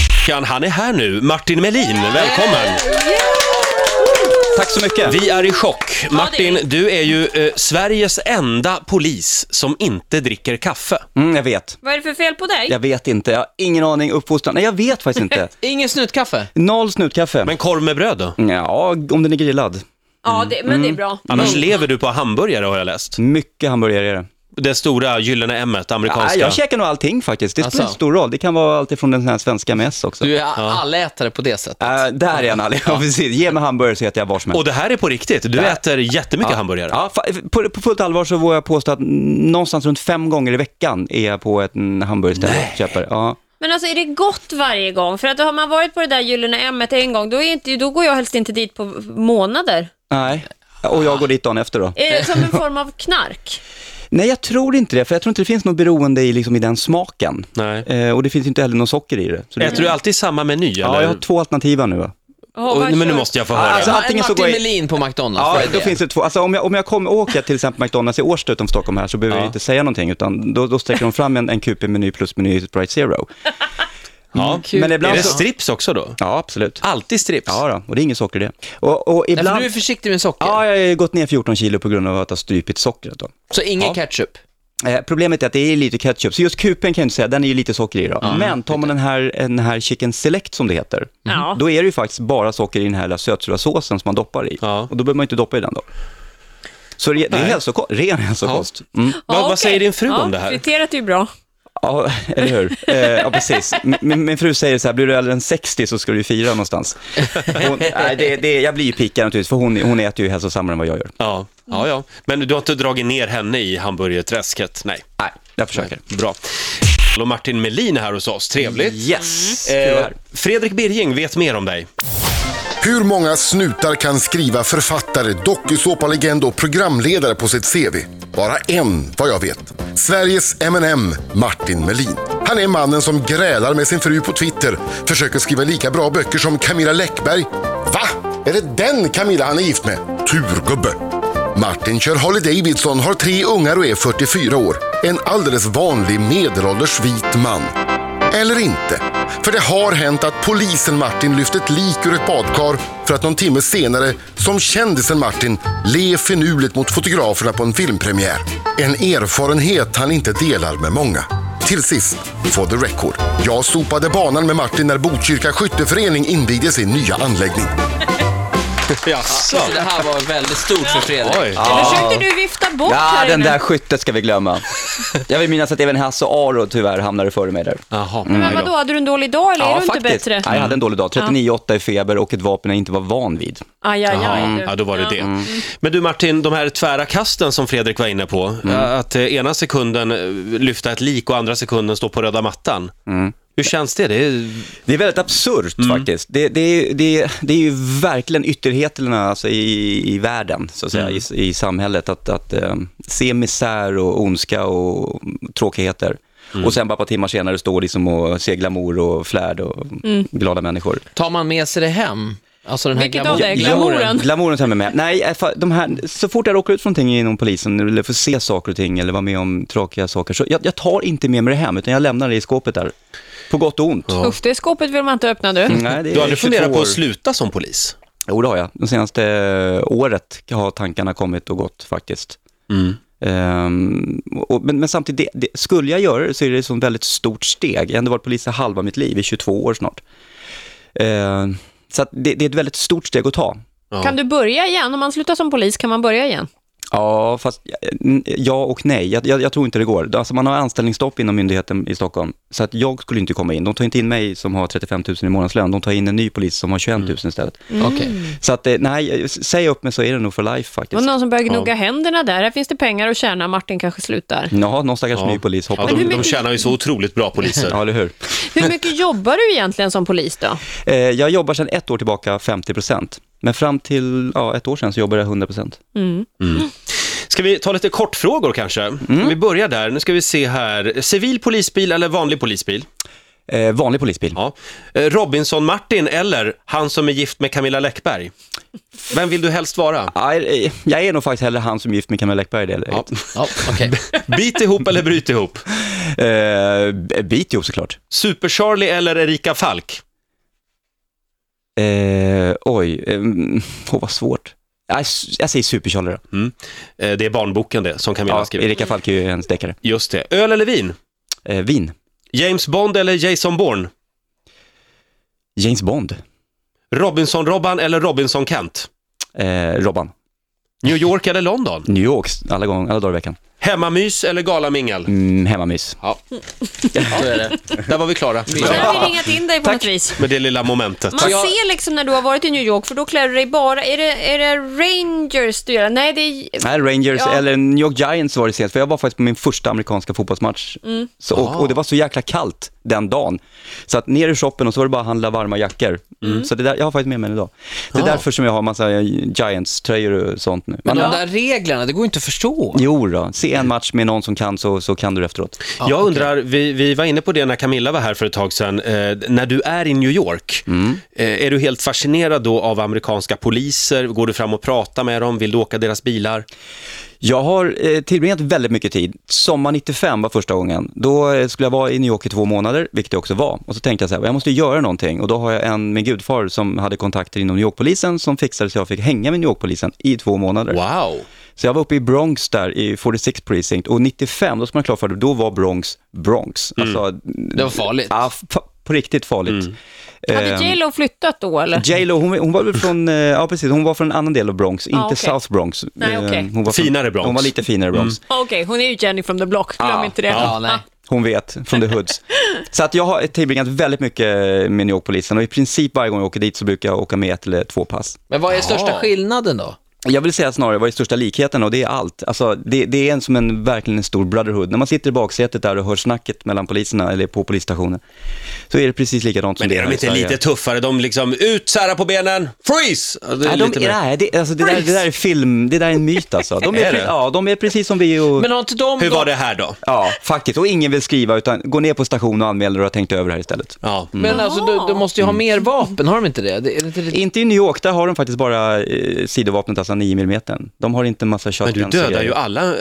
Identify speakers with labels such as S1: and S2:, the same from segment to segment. S1: farsan, han är här nu. Martin Melin, välkommen!
S2: Tack så mycket.
S1: Vi är i chock. Martin, du är ju eh, Sveriges enda polis som inte dricker kaffe.
S2: Mm, jag vet.
S3: Vad är det för fel på dig?
S2: Jag vet inte. Jag har ingen aning. Uppfostran. Nej, jag vet faktiskt inte.
S4: Ingen snutkaffe?
S2: Noll snutkaffe.
S1: Men korv med bröd då?
S2: Ja, om den är grillad.
S3: Ja, det, men det är bra.
S1: Annars
S2: Mm.
S1: lever du på hamburgare har jag läst.
S2: Mycket hamburgare är det.
S1: Det stora gyllene M-et,
S2: Ja,
S1: amerikanska.
S2: jag käkar nog allting faktiskt. Det spelar
S4: Alltså.
S2: stor roll. Det kan vara allt ifrån den här svenska mäss också.
S4: Du är allätare på det sättet.
S2: Äh, där är han aldrig. Ja. precis. Ge mig hamburgare så äter jag var som helst.
S1: Och det här är på riktigt. Du äter jättemycket hamburgare.
S2: Ja, fa- på, på fullt allvar så vågar jag påstå att någonstans runt fem gånger i veckan är jag på ett mm, hamburgerställe och köper. Ja.
S3: Men alltså är det gott varje gång? För att har man varit på det där gyllene ämnet en gång, då, är inte, då går jag helst inte dit på månader.
S2: Nej. Och jag går dit dagen efter då.
S3: Är det som en form av knark?
S2: Nej, jag tror inte det, för jag tror inte det finns något beroende i, liksom, i den smaken.
S1: Nej.
S2: Eh, och det finns ju inte heller något socker i det. Så det
S1: Äter du alltid samma meny? Eller?
S2: Ja, jag har två alternativ här nu. Va?
S3: Oh,
S1: Oj, men nu måste jag få höra.
S2: Alltså,
S4: Alltså, en
S2: antingen så
S4: Martin
S2: går jag-
S4: Melin på McDonalds,
S2: Ja,
S4: vad är
S2: då
S4: det?
S2: finns det två. Alltså, om jag, om jag kommer, åker jag till exempel McDonalds i Årsta utanför Stockholm här så behöver jag
S4: Ja.
S2: inte säga någonting, utan då, då sträcker de fram en, en QP-meny plus meny Sprite Zero. Mm.
S1: Ja.
S4: Kul.
S2: Men
S1: Är
S2: ibland
S1: det
S2: så...
S1: strips också då?
S2: Ja, absolut.
S1: Alltid strips?
S2: Ja, då, och det är inget socker i det. Och, och
S4: Nej, för
S2: ibland...
S4: du är försiktig med socker,
S2: Ja, jag har ju gått ner 14 kilo på grund av att ha strypit sockret då.
S4: så ingen ketchup.
S2: Eh, problemet är att det är lite ketchup, så just kupen kan jag inte säga, den är ju lite socker i då. Men tar man den här, den här chicken select som det heter, mm,
S3: Ja.
S2: då är det ju faktiskt bara socker i den här lilla sötsursåsen som man doppar i.
S1: Ja.
S2: Och då behöver man ju inte doppa i den då. Så det, det är hälsoko- ren hälsokost. Mm.
S3: Ja,
S1: Vad- vad
S3: okej.
S1: säger din fru om det här?
S3: Friterat är ju bra.
S2: Ja, eller hur? Eh, ja, precis. Min- Min, min fru säger så här, blir du äldre än 60 så ska du ju fira någonstans. Hon, nej, det, det, jag blir ju pickad naturligtvis, för hon, hon äter ju hälsosammare än vad jag gör.
S1: Ja, ja, ja. Men du har inte dragit ner henne i hamburgerträsket? Nej.
S2: Nej, jag försöker.
S1: Bra. Och Martin Melin är här hos oss, trevligt.
S2: Yes! Mm. Kul att
S1: Eh,
S2: vara här.
S1: Fredrik Birging vet mer om dig.
S5: Hur många snutar kan skriva författare, dokusåpalegend och programledare på sitt CV? Bara en, vad jag vet. Sveriges M&M, Martin Melin. Han är mannen som grälar med sin fru på Twitter, försöker skriva lika bra böcker som Camilla Läckberg. Va? Är det den Camilla han är gift med? Turgubbe. Martin kör Harley Davidson, har tre ungar och är 44 år. En alldeles vanlig medelålders vit man. Eller inte. För det har hänt att polisen Martin lyft ett lik ur ett badkar för att någon timme senare, som kändisen Martin, le finurligt mot fotograferna på en filmpremiär. En erfarenhet han inte delar med många. Till sist, for the record. Jag sopade banan med Martin när Botkyrka skytteförening invigde sin nya anläggning.
S1: Jaså?
S4: Så det här var väldigt stort för Fredrik.
S1: Oj.
S3: Försökte du vifta bort
S2: Ja,
S3: här
S2: den
S3: inne?
S2: där skytten ska vi glömma. Jag vill minnas att även Hasse Aro tyvärr hamnade före mig där.
S1: Jaha.
S3: Men vadå, hade du en dålig dag eller är du inte bättre?
S2: Ja, jag hade en dålig dag. 39,8 i feber och ett vapen jag inte var van vid.
S3: Aj, aj, aj, du.
S1: Ja, då var det det.
S3: Mm.
S1: Men du Martin, de här tvära kasten som Fredrik var inne på.
S2: Mm.
S1: Att eh, ena sekunden eh, lyfta ett lik och andra sekunden stå på röda mattan.
S2: Mm.
S1: Hur känns det? det är...
S2: Det är väldigt absurt faktiskt. Det, det, det, det är ju verkligen ytterligheterna alltså, i, i världen, så att säga, i, i samhället. Att, att eh, se misär och ondska och tråkigheter. Och sen bara ett par timmar senare står liksom och se glamour och flärd och
S3: Mm.
S2: glada människor.
S4: Tar man med sig det hem? Alltså den här
S3: Vilket
S4: gamla-
S3: av det?
S2: Ja,
S3: Glamouren?
S2: Glamouren tar jag med mig. Nej, eh, fa- de här, så fort jag råkar ut för någonting inom polisen eller får se saker och ting eller vara med om tråkiga saker, så jag, jag tar inte med mig det hem utan jag lämnar det i skåpet där. På gott och ont.
S3: Usch, det skåpet vill man inte öppna du.
S2: Nej, det är
S1: Mm. Du har aldrig
S2: 22
S1: funderat på
S2: år.
S1: att sluta som polis?
S2: Jo, det har jag. Det senaste eh, året har tankarna kommit och gått faktiskt.
S1: Mm.
S2: Ehm, och, men, men samtidigt, det, det, skulle jag göra det så är det ett sånt väldigt stort steg. Jag har ändå varit polis i halva mitt liv, i 22 år snart. Ehm, så att det, det är ett väldigt stort steg att ta.
S3: Kan du börja igen? Om man slutar som polis, kan man börja igen?
S2: Ja, fast n- ja och nej. Jag, jag, jag tror inte det går. Alltså man har anställningsstopp inom myndigheten i Stockholm, så att jag skulle inte komma in. De tar inte in mig som har 35 000 i månadslön, de tar in en ny polis som har 21 000 istället.
S3: Mm.
S4: Okej.
S2: Så att eh, nej, s- säg upp mig så är det nog för life
S3: Det var
S2: faktiskt.
S3: någon som började gnugga händerna där. Här finns det pengar att tjäna. Martin kanske slutar.
S2: Ja, någon stackars ny polis
S1: Ja,
S2: hoppar
S1: de,
S3: hur
S1: de
S3: mycket-
S1: tjänar ju så otroligt bra poliser.
S2: Ja, eller hur?
S3: Hur mycket jobbar du egentligen som polis då?
S2: Eh, jag jobbar sedan ett år tillbaka 50 procent. Men fram till ja, ett år sedan så jobbade jag 100 procent.
S1: Ska vi ta lite kortfrågor kanske?
S2: Mm.
S1: Vi börjar där. Nu ska vi se här. Civil polisbil eller vanlig polisbil?
S2: Eh, vanlig polisbil.
S1: Ja. Eh, Robinson-Martin eller han som är gift med Camilla Läckberg? Vem vill du helst vara?
S2: Aj, eh, jag är nog faktiskt hellre han som är gift med Camilla Läckberg. Det, eller?
S1: Ja.
S4: Ja, okej.
S1: Bit ihop eller bryt ihop?
S2: Eh, b- bit ihop såklart.
S1: Super-Charlie eller Erika Falk?
S2: Eh, oj, eh, oh, vad svårt. Jag, jag säger Supercharlie då.
S1: Eh, Det är barnboken det, som Camilla
S2: Ja,
S1: har skrivit.
S2: Erika Falk är ju en deckare.
S1: Just det. Öl eller vin?
S2: Eh, vin.
S1: James Bond eller Jason Bourne?
S2: James Bond.
S1: Robinson-Robban eller Robinson-Kent?
S2: Eh, Robban.
S1: New York eller London?
S2: New York, alla, gång, alla dagar i veckan.
S1: Hemmamys eller galamingel?
S2: Mm, hemmamys.
S1: Ja,
S4: Så är det.
S1: där var vi klara.
S3: Så där har vi ringat in dig på något vis.
S1: Med det lilla momentet.
S3: Man ser liksom när du har varit i New York, för då klär du dig bara... Är det, är det Rangers du gör? Nej, det är...
S2: Nej, Rangers
S3: Ja.
S2: eller New York Giants var det senast, för jag var faktiskt på min första amerikanska fotbollsmatch.
S4: Mm.
S2: Så, och, och det var så jäkla kallt den dagen. Så att ner i shoppen och så var det bara att handla varma jackor.
S4: Mm.
S2: Så det där, jag har faktiskt med mig den idag. Det är därför som jag har massa eh, Giants-tröjor och sånt nu.
S4: Men
S2: Men, eh,
S4: de där reglerna, det går ju inte att förstå.
S2: Jo då, se en match med någon som kan så, så kan du det efteråt.
S1: Jag undrar, vi, vi var inne på det när Camilla var här för ett tag sedan, eh, när du är i New York,
S2: Mm.
S1: eh, är du helt fascinerad då av amerikanska poliser? Går du fram och pratar med dem? Vill du åka deras bilar?
S2: Jag har eh, tillbringat väldigt mycket tid. Sommar 95 var första gången. Då eh, skulle jag vara i New York i två månader, vilket jag också var. Och så tänkte jag så här, jag måste göra någonting. Och då har jag en, min gudfar, som hade kontakter inom New York-polisen, som fixade så jag fick hänga med New York-polisen i två månader.
S1: Wow!
S2: Så jag var uppe i Bronx där, i 46 precinct. Och 95, då ska man ha klart för det, då var Bronx Bronx.
S1: Mm.
S2: Alltså,
S4: Det var farligt.
S2: ja, fa- på riktigt farligt.
S3: Hade J Lo flyttat då, eller?
S2: J Lo, hon, hon var väl från, eh, ja precis, hon var från en annan del av Bronx, inte
S3: Ah, okej.
S2: South Bronx.
S3: Nej,
S2: Eh,
S3: okej.
S2: hon var från-
S1: Finare Bronx. Mm.
S2: Hon var lite finare Bronx.
S3: Ah, Okej, hon är ju Jenny from the block, glöm inte det.
S4: Ja, nej.
S2: Hon vet, från The Hoods. Så att jag har tillbringat väldigt mycket eh, med New York-polisen och i princip varje gång jag åker dit så brukar jag åka med ett eller två pass.
S4: Men vad är största skillnaden då?
S2: Jag vill säga snarare vad är största likheten och det är allt. Alltså, det, det är en, som en, verkligen en stor brotherhood. När man sitter i baksätet där och hör snacket mellan poliserna eller på polisstationen så är det precis likadant som
S1: Men
S2: det
S1: är
S2: här
S1: de
S2: i
S1: inte
S2: Sverige.
S1: lite tuffare? De liksom, ut sära på benen, freeze! Ja, det är
S2: Nej,
S1: lite
S2: de,
S1: mer-
S2: nej det, alltså, det, där, det där är film, det där är en myt alltså. De är,
S1: Är det?
S2: pre- ja, de är precis som vi och...
S4: Men har inte de...
S1: Hur var det här då?
S2: Ja, faktiskt. Och ingen vill skriva utan gå ner på stationen och anmäl och har tänkt över det här istället.
S1: Ja.
S4: Men alltså, du, du måste ju ha mer vapen, har de inte det? det, är inte det...
S2: Inte i New York, där har de faktiskt bara eh, sidovapnet, alltså 9 mm. De har inte en massa
S1: Men
S2: shotguns.
S1: du
S2: och
S1: dödar
S2: grejer.
S1: ju alla eh,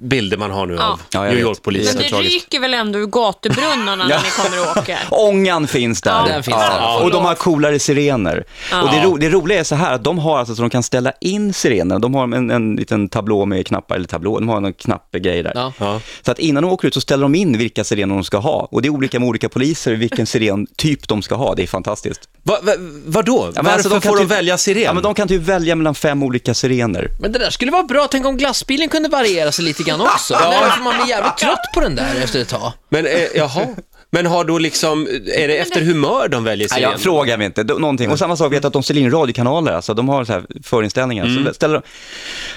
S1: bilder man har nu av
S2: Ja, jag
S1: New
S2: vet.
S1: York-polisen.
S3: Men
S2: så
S3: det
S2: tragiskt.
S3: ryker väl ändå ur gatubrunnarna när ni kommer och åker?
S2: Ångan finns där.
S3: Ja,
S4: den finns där.
S2: Och de har coolare sirener. Och det, ro det roliga är så här att de har alltså så de kan ställa in sirenerna. De har en, en liten tablå med knappar, eller tablå, de har en knappgrej där.
S4: Ja.
S1: Ja.
S2: Så att innan de åker ut så ställer de in vilka sirener de ska ha. Och det är olika med olika poliser vilken sirentyp de ska ha. Det är fantastiskt.
S1: Va, va, vadå?
S2: Ja, men
S1: Varför
S2: alltså, kan
S1: får de
S2: typ-
S1: välja siren?
S2: Ja, men de kan typ välja mellan fem olika sirener.
S4: Men det där skulle vara bra, tänk om glassbilen kunde variera sig lite grann också. Nej, för man blir jävligt trött på den där efter ett tag.
S1: Men, eh, jaha. Men har då liksom, är det efter humör de väljer
S2: Nej,
S1: siren?
S2: jag frågar mig inte. De- Någonting. Och samma sak vet jag att de ställer in radiokanaler, alltså de har så här förinställningar.
S1: Mm.
S2: Så ställer de,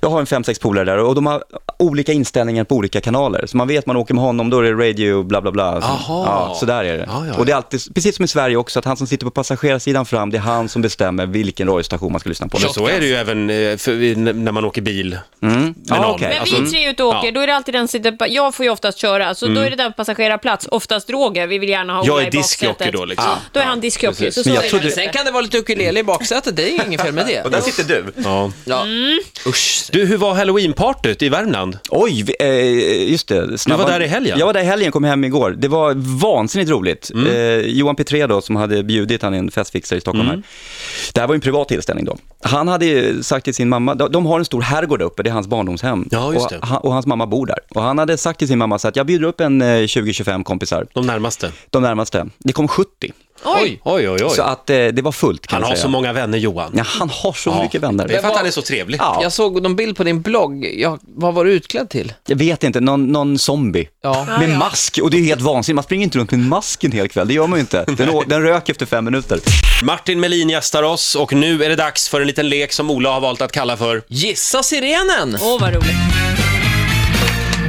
S2: jag har en fem, sex polare där och de har olika inställningar på olika kanaler. Så man vet, man åker med honom, då är det radio, bla bla bla. Så,
S1: Aha.
S2: ja, så där är det.
S1: Ja, ja,
S2: Och det är alltid, precis som i Sverige också, att han som sitter på passagerarsidan fram, det är han som bestämmer vilken radiostation man ska lyssna på.
S1: Men så är det ju även eh, för, i- n- när man åker bil.
S2: Mm.
S1: Med någon.
S2: okej.
S3: Men
S1: Alltså,
S3: vi tre är ute och åker,
S1: ja.
S3: då är det alltid den som sitter på, jag får ju oftast köra, så då är det den på passagerarplats, oftast droger, vi vill gärna ha
S1: Jag
S3: Ola
S1: är
S3: i baksätet.
S1: diskjockey då, liksom.
S3: Ja, Då är han diskjockey, så så
S2: Men jag
S3: är
S2: trodde-
S3: det.
S4: Sen kan det vara lite ukulele i baksätet, det är inget fel med
S2: Och
S4: det.
S2: där sitter du.
S1: Ja.
S4: Ja.
S3: Mm.
S4: Usch.
S1: Du, hur var halloweenpartyt i Värmland?
S2: Oj, vi- eh, just det. Snabba-
S1: Du var där i helgen. Mm.
S2: Jag var där i helgen, kom hem igår. Det var vansinnigt roligt. Eh, Johan Petré då, som hade bjudit, han är en festfixare i Stockholm
S1: Mm.
S2: här. Det här var ju en privat tillställning då. Han hade ju sagt till sin mamma, de de har en stor herrgård där uppe, det är hans barndomshem.
S1: Ja, just det.
S2: och, han, och hans mamma bor där. Och han hade sagt till sin mamma så att jag bjuder upp en eh, 20-25 kompisar,
S1: De närmaste?
S2: de närmaste. Det kom 70,
S3: Oj!
S1: Oj, oj, oj.
S2: så att eh, det var fullt kan
S1: han
S2: jag
S1: har
S2: säga.
S1: så många vänner, Johan.
S2: ja, han har så mycket vänner.
S1: Det är för att han är så trevlig.
S2: Ja.
S4: Jag såg någon bild på din blogg, jag, vad var du utklädd till?
S2: Jag vet inte, någon, någon zombie.
S4: Ja.
S2: Med mask, och det är ju helt vansinnigt. Man springer inte runt med en mask en hel kväll, det gör man ju inte. Den, å- den rök efter fem minuter.
S1: Martin Melin gästar oss och nu är det dags för en liten lek som Ola har valt att kalla för...
S4: Gissa sirenen!
S3: Åh, vad roligt.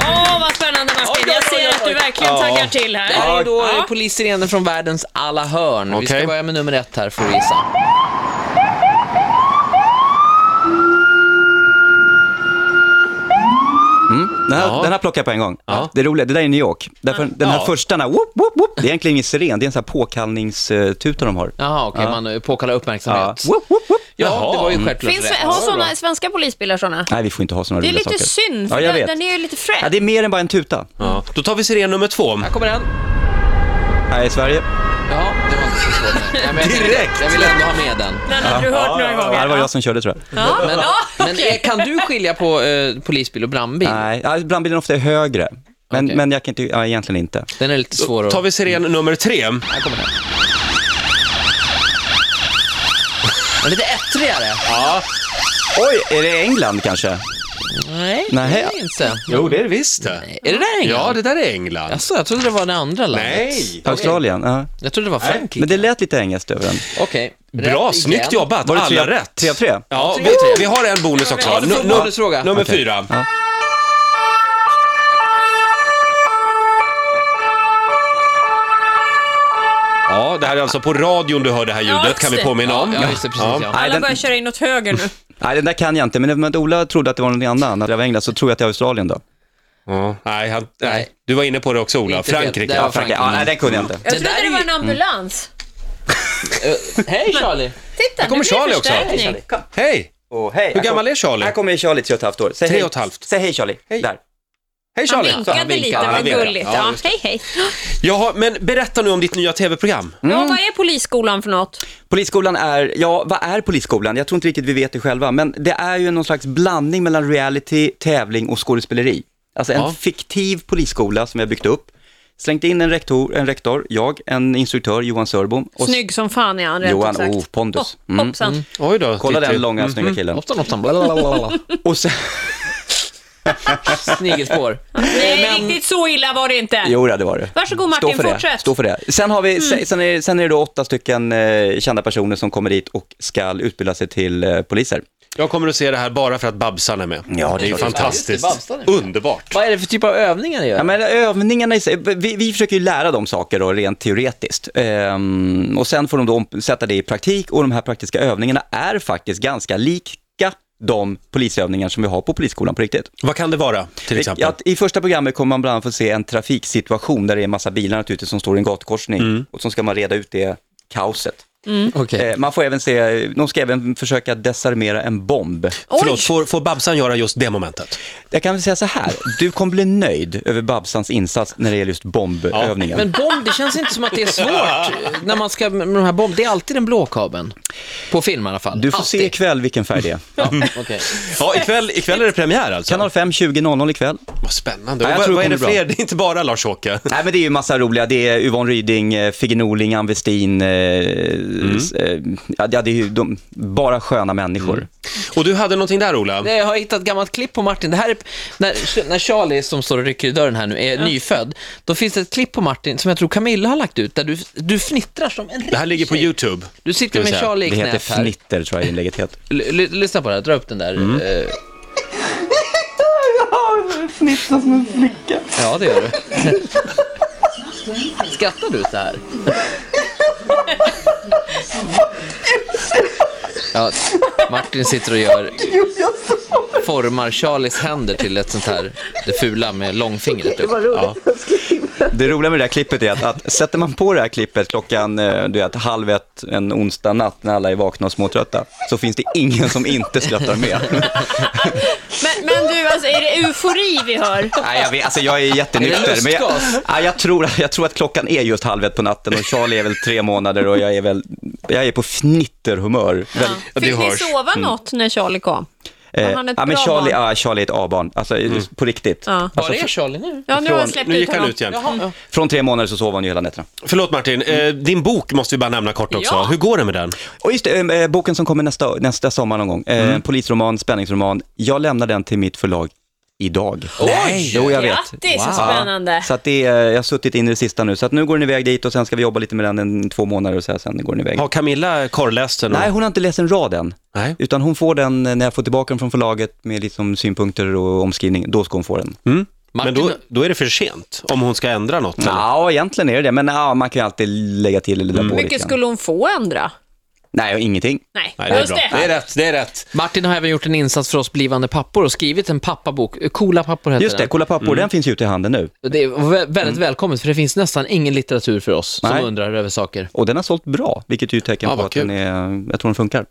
S3: Åh, vad spännande
S4: Oj,
S3: Martin.
S4: oj,
S3: Jag ser
S4: oj, oj,
S3: att du
S4: oj.
S3: verkligen taggar till här.
S4: Det här är då
S3: Ja.
S4: ja. polissirenen från världens alla hörn. Vi
S1: Okej.
S4: ska börja med nummer ett här för att gissa.
S2: Den här, den här plockar jag på en gång. Det är roligt, det där är New York. Därför, Den här
S1: Ja.
S2: första, den här, whoop, whoop, whoop, det är egentligen ingen siren, det är en sån här påkallningstuta de har.
S4: Jaha, okej, man eh, påkallar
S2: Ja.
S4: uppmärksamhet. Ja,
S2: Whoop, whoop, whoop.
S1: Jaha.
S4: det var ju självklart
S3: Finns,
S4: rätt.
S3: har
S4: Ja, bra.
S3: såna, svenska polisbilar sådana?
S2: Nej, vi får inte ha såna
S3: Det är
S2: roliga
S3: lite
S2: saker.
S3: synd, för
S2: ja, jag
S3: den,
S2: vet.
S3: den är ju lite fräsch.
S2: Ja, det är mer än bara en tuta.
S1: Ja. Då tar vi siren nummer två.
S4: Här kommer den.
S2: Här i Sverige.
S4: Ja, det var inte inte så svårt. Nej, men jag vill-
S1: Direkt!
S4: Jag vill ändå ha med den.
S3: Den hade du hört några
S2: Ja,
S3: gånger.
S2: det var jag som körde tror jag.
S3: Ja,
S4: Men,
S3: ja,
S4: men
S3: okej.
S4: är, kan du skilja på eh, polisbil och brandbil?
S2: Nej, ja, brandbilen ofta är högre. Men,
S4: Okej.
S2: men jag kan inte, ja, egentligen inte.
S4: Den är lite svår att...
S1: tar vi siren nummer tre.
S4: Den är Lite ettrigare.
S1: Ja.
S2: Oj, är det England kanske?
S4: Nej,
S2: Nej.
S4: det är inte.
S1: Jo, det är det visst det.
S4: Är det där England?
S1: Ja, det där är England.
S4: Jaså, jag trodde det var det andra landet.
S1: Nej.
S2: Australien? Ja.
S4: Jag trodde det var Frankrike.
S2: Men det lät lite engelskt över den.
S4: Okej.
S1: Bra,
S4: Rätt
S1: snyggt
S4: igen.
S1: jobbat.
S2: Var det tre-
S1: Alla rätt.
S2: tre av tre?
S1: Ja,
S4: Tre av
S1: vi,
S4: tre.
S1: vi har en bonus också.
S4: Ja, du får
S1: Nu- nu-
S4: bonusfråga.
S1: Nummer
S2: Okej.
S1: fyra.
S2: Ja.
S1: Ja, det här är alltså på radion du hör det här
S3: Ja,
S1: ljudet,
S3: just
S1: kan vi
S3: det.
S1: påminna om.
S4: Ja, just det, precis. Ja.
S2: Nej,
S3: Alla
S2: den-
S3: börjar köra in åt höger nu.
S2: Nej, den där kan jag inte. Men eftersom att Ola trodde att det var någon annan, att det var England, så tror jag att det är Australien då.
S1: Ja, nej, han, nej,
S4: Nej.
S1: du var inne på det också Ola.
S4: Inte fel.
S1: Frankrike.
S4: Där var
S1: Ja.
S4: Frankrike.
S2: Ja, nej, den kunde jag inte.
S3: Jag
S4: Det
S3: trodde
S4: där
S3: det
S4: är
S3: var
S4: ju-
S3: en
S2: mm.
S3: ambulans.
S4: Eh, Hej Charlie!
S3: Titta,
S1: kommer
S3: nu blir det
S1: Charlie också.
S3: förstärkning.
S1: Hej!
S2: Åh, hej.
S1: Hur gammal är Charlie?
S2: Här kommer Charlie, tre och ett halvt år. Säg
S1: Tre
S2: hej.
S1: och ett halvt.
S2: Säg hej Charlie.
S1: Hej.
S2: Där.
S1: Hej
S3: Han
S1: Charlie!
S4: Han
S3: vinkade
S4: vinkar,
S3: lite,
S4: han
S3: vad
S1: vinkar.
S3: gulligt.
S1: Ja,
S3: Ja,
S1: just
S3: hej, hej.
S1: Jaha, men berätta nu om ditt nya tv-program.
S2: Mm.
S3: Ja, vad är polisskolan för något?
S2: Polisskolan är, ja vad är Polisskolan? Jag tror inte riktigt vi vet det själva, men det är ju någon slags blandning mellan reality, tävling och skådespeleri. Alltså en
S4: Ja.
S2: fiktiv polisskola som vi har byggt upp, slängt in en rektor, en rektor jag, en instruktör, Johan Sörbom. Och
S3: Snygg som fan är han, rätt
S2: Johan
S3: ut sagt.
S2: O. Pondus.
S3: Oh,
S2: Mm.
S3: hoppsan.
S1: Oj då.
S2: Kolla
S1: Titti. Mhm.
S2: den långa snygga killen.
S4: Ofta något som blablabla.
S2: Och sen,
S4: Snigelspår.
S3: Nej, riktigt så illa var det inte.
S2: jo det var det.
S3: Varsågod, Martin,
S2: Stå för det.
S3: fortsätt. Mm.
S2: Stå för det. Sen, har vi, se- sen, är, sen är det då åtta stycken eh, kända personer som kommer dit och ska utbilda sig till eh, poliser.
S1: Jag kommer att se det här bara för att Babsan är med.
S2: Ja,
S1: det är ju
S2: klart.
S1: fantastiskt.
S4: Ja, just det, Babsan är med.
S1: Underbart.
S4: Vad är det för typ av övningar ni gör?
S2: Ja, men övningarna i sig, vi, vi försöker ju lära dem saker då, rent teoretiskt. Ehm, och sen får de då om- sätta det i praktik och de här praktiska övningarna är faktiskt ganska lika de polisövningar som vi har på polisskolan på riktigt.
S1: Vad kan det vara, till exempel?
S2: Att I första programmet kommer man bland annat få se en trafiksituation där det är en massa bilar naturligtvis som står i en gatukorsning
S1: Mm.
S2: och som ska man reda ut det kaoset.
S4: Okej.
S2: Eh, man får även se, de ska även försöka desarmera en bomb.
S1: Förlåt, får, får Babsan göra just det momentet?
S2: Jag kan väl säga så här, du kommer bli nöjd över Babsans insats när det gäller just bombövningen.
S4: Men bomb, det känns inte som att det är svårt när man ska med de här bomb. Det är alltid den blå kabeln. På film i alla fall.
S2: Du får se
S4: alltid.
S2: ikväll vilken färg det är.
S4: Ja, okej.
S1: Ja, ikväll, ikväll är det premiär alltså.
S2: Kanal 5, 20.00 ikväll.
S1: Vad spännande.
S2: Nej, jag
S1: Och vad
S2: tror
S1: vad
S2: det
S1: är det
S2: kommer bli
S1: fler? Det är inte bara Lars-Åke.
S2: Nej men det är ju massa roliga, det är Yvonne Ryding, eh, Figge Norling, Ann Westin, eh, s- eh, ja det är ju de, bara sköna människor.
S1: Och du hade någonting där, Ola?
S4: Nej, jag har hittat ett gammalt klipp på Martin. Det här är, när, när Charlie, som står och rycker i dörren här nu, är nyfödd, då finns det ett klipp på Martin som jag tror Camilla har lagt ut, där du, du fnittrar som en
S1: Det här ligger på YouTube.
S4: Du sitter med
S1: Ska vi
S4: Charlie i
S2: Det heter
S4: knät här. L-
S2: fnitter tror jag inlägget heter.
S4: l- lyssna på det här, dra upp den där. eh,
S6: Fnittra som en flicka.
S4: ja, det gör du. Skrattar du så här? Ja, Martin sitter och gör,
S6: Jo, jag sover.
S4: formar Charlies händer till ett sånt här, det fula med långfingret. upp.
S6: Vad roligt att skriva.
S2: Det roliga med det här klippet är att, att sätter man på det här klippet klockan eh, du vet, halv ett en onsdag natt när alla är vakna och småtrötta så finns det ingen som inte skrattar med.
S3: Men, men du, alltså, är det eufori vi hör?
S2: Nej, jag, vet, alltså, jag är
S4: Är
S2: jättenykter.
S4: det
S2: Men jag,
S4: lustgas?
S2: nej, jag, tror, jag tror att klockan är just halv ett på natten och Charlie är väl tre månader och jag är väl jag är på fnitterhumör. Ja.
S1: det
S3: Fick ni
S1: hörs. Mm. Eh,
S3: sova något när Charlie kom? Var han ett
S2: eh, ja, men
S3: bra
S2: Charlie,
S3: barn?
S2: ja, Charlie är ett A-barn, alltså,
S4: Mm.
S2: på riktigt.
S3: Ja.
S4: Var är Charlie nu?
S3: Ja, nu har jag släppt
S1: Nu
S3: ut
S1: gick han
S3: honom.
S1: ut igen.
S4: Jaha, ja.
S2: Från tre månader så sov han ju hela nätterna.
S1: Förlåt Martin, eh, din bok måste vi bara nämna kort också.
S3: Ja.
S1: Hur går det med den?
S2: Och just det, eh, eh, boken som kommer nästa, nästa sommar någon gång, eh, polisroman, spänningsroman, jag lämnar den till mitt förlag idag.
S4: Oj!
S2: Jo, jag vet.
S3: Grattis, så
S4: Wow.
S3: spännande.
S2: Så att det är, jag har suttit in i det sista nu, så att nu går den iväg dit och sen ska vi jobba lite med den en, två månader och så här, sen går den iväg.
S1: Har Camilla korrläst den?
S2: Nej, hon har inte läst en rad än.
S1: Nej.
S2: Utan hon får den eh, när jag får tillbaka den från förlaget med liksom synpunkter och omskrivning. Då ska hon få den.
S1: Men
S4: Martin,
S1: då, då är det för sent om hon ska ändra något. eller?
S2: Ja, egentligen är det det. Men ja, man kan ju alltid lägga till eller lägga på
S3: Hur
S2: lite
S3: mycket
S2: grann.
S3: skulle hon få ändra?
S2: Nej, och ingenting.
S3: Nej,
S1: Nej, det är
S3: just
S1: bra.
S3: det.
S1: Det är rätt, det är rätt.
S4: Martin har även gjort en insats för oss blivande pappor och skrivit en pappabok. Coola pappor heter
S2: Just det,
S4: den.
S2: Kolla pappor, den finns ju ute i handen nu.
S4: Det är vä- väldigt välkommet, för det finns nästan ingen litteratur för oss som
S2: Nej.
S4: undrar över saker.
S2: Och den har sålt bra, vilket är ju ett tecken
S1: Ja,
S2: på
S1: vad
S2: att den är, jag tror den funkar.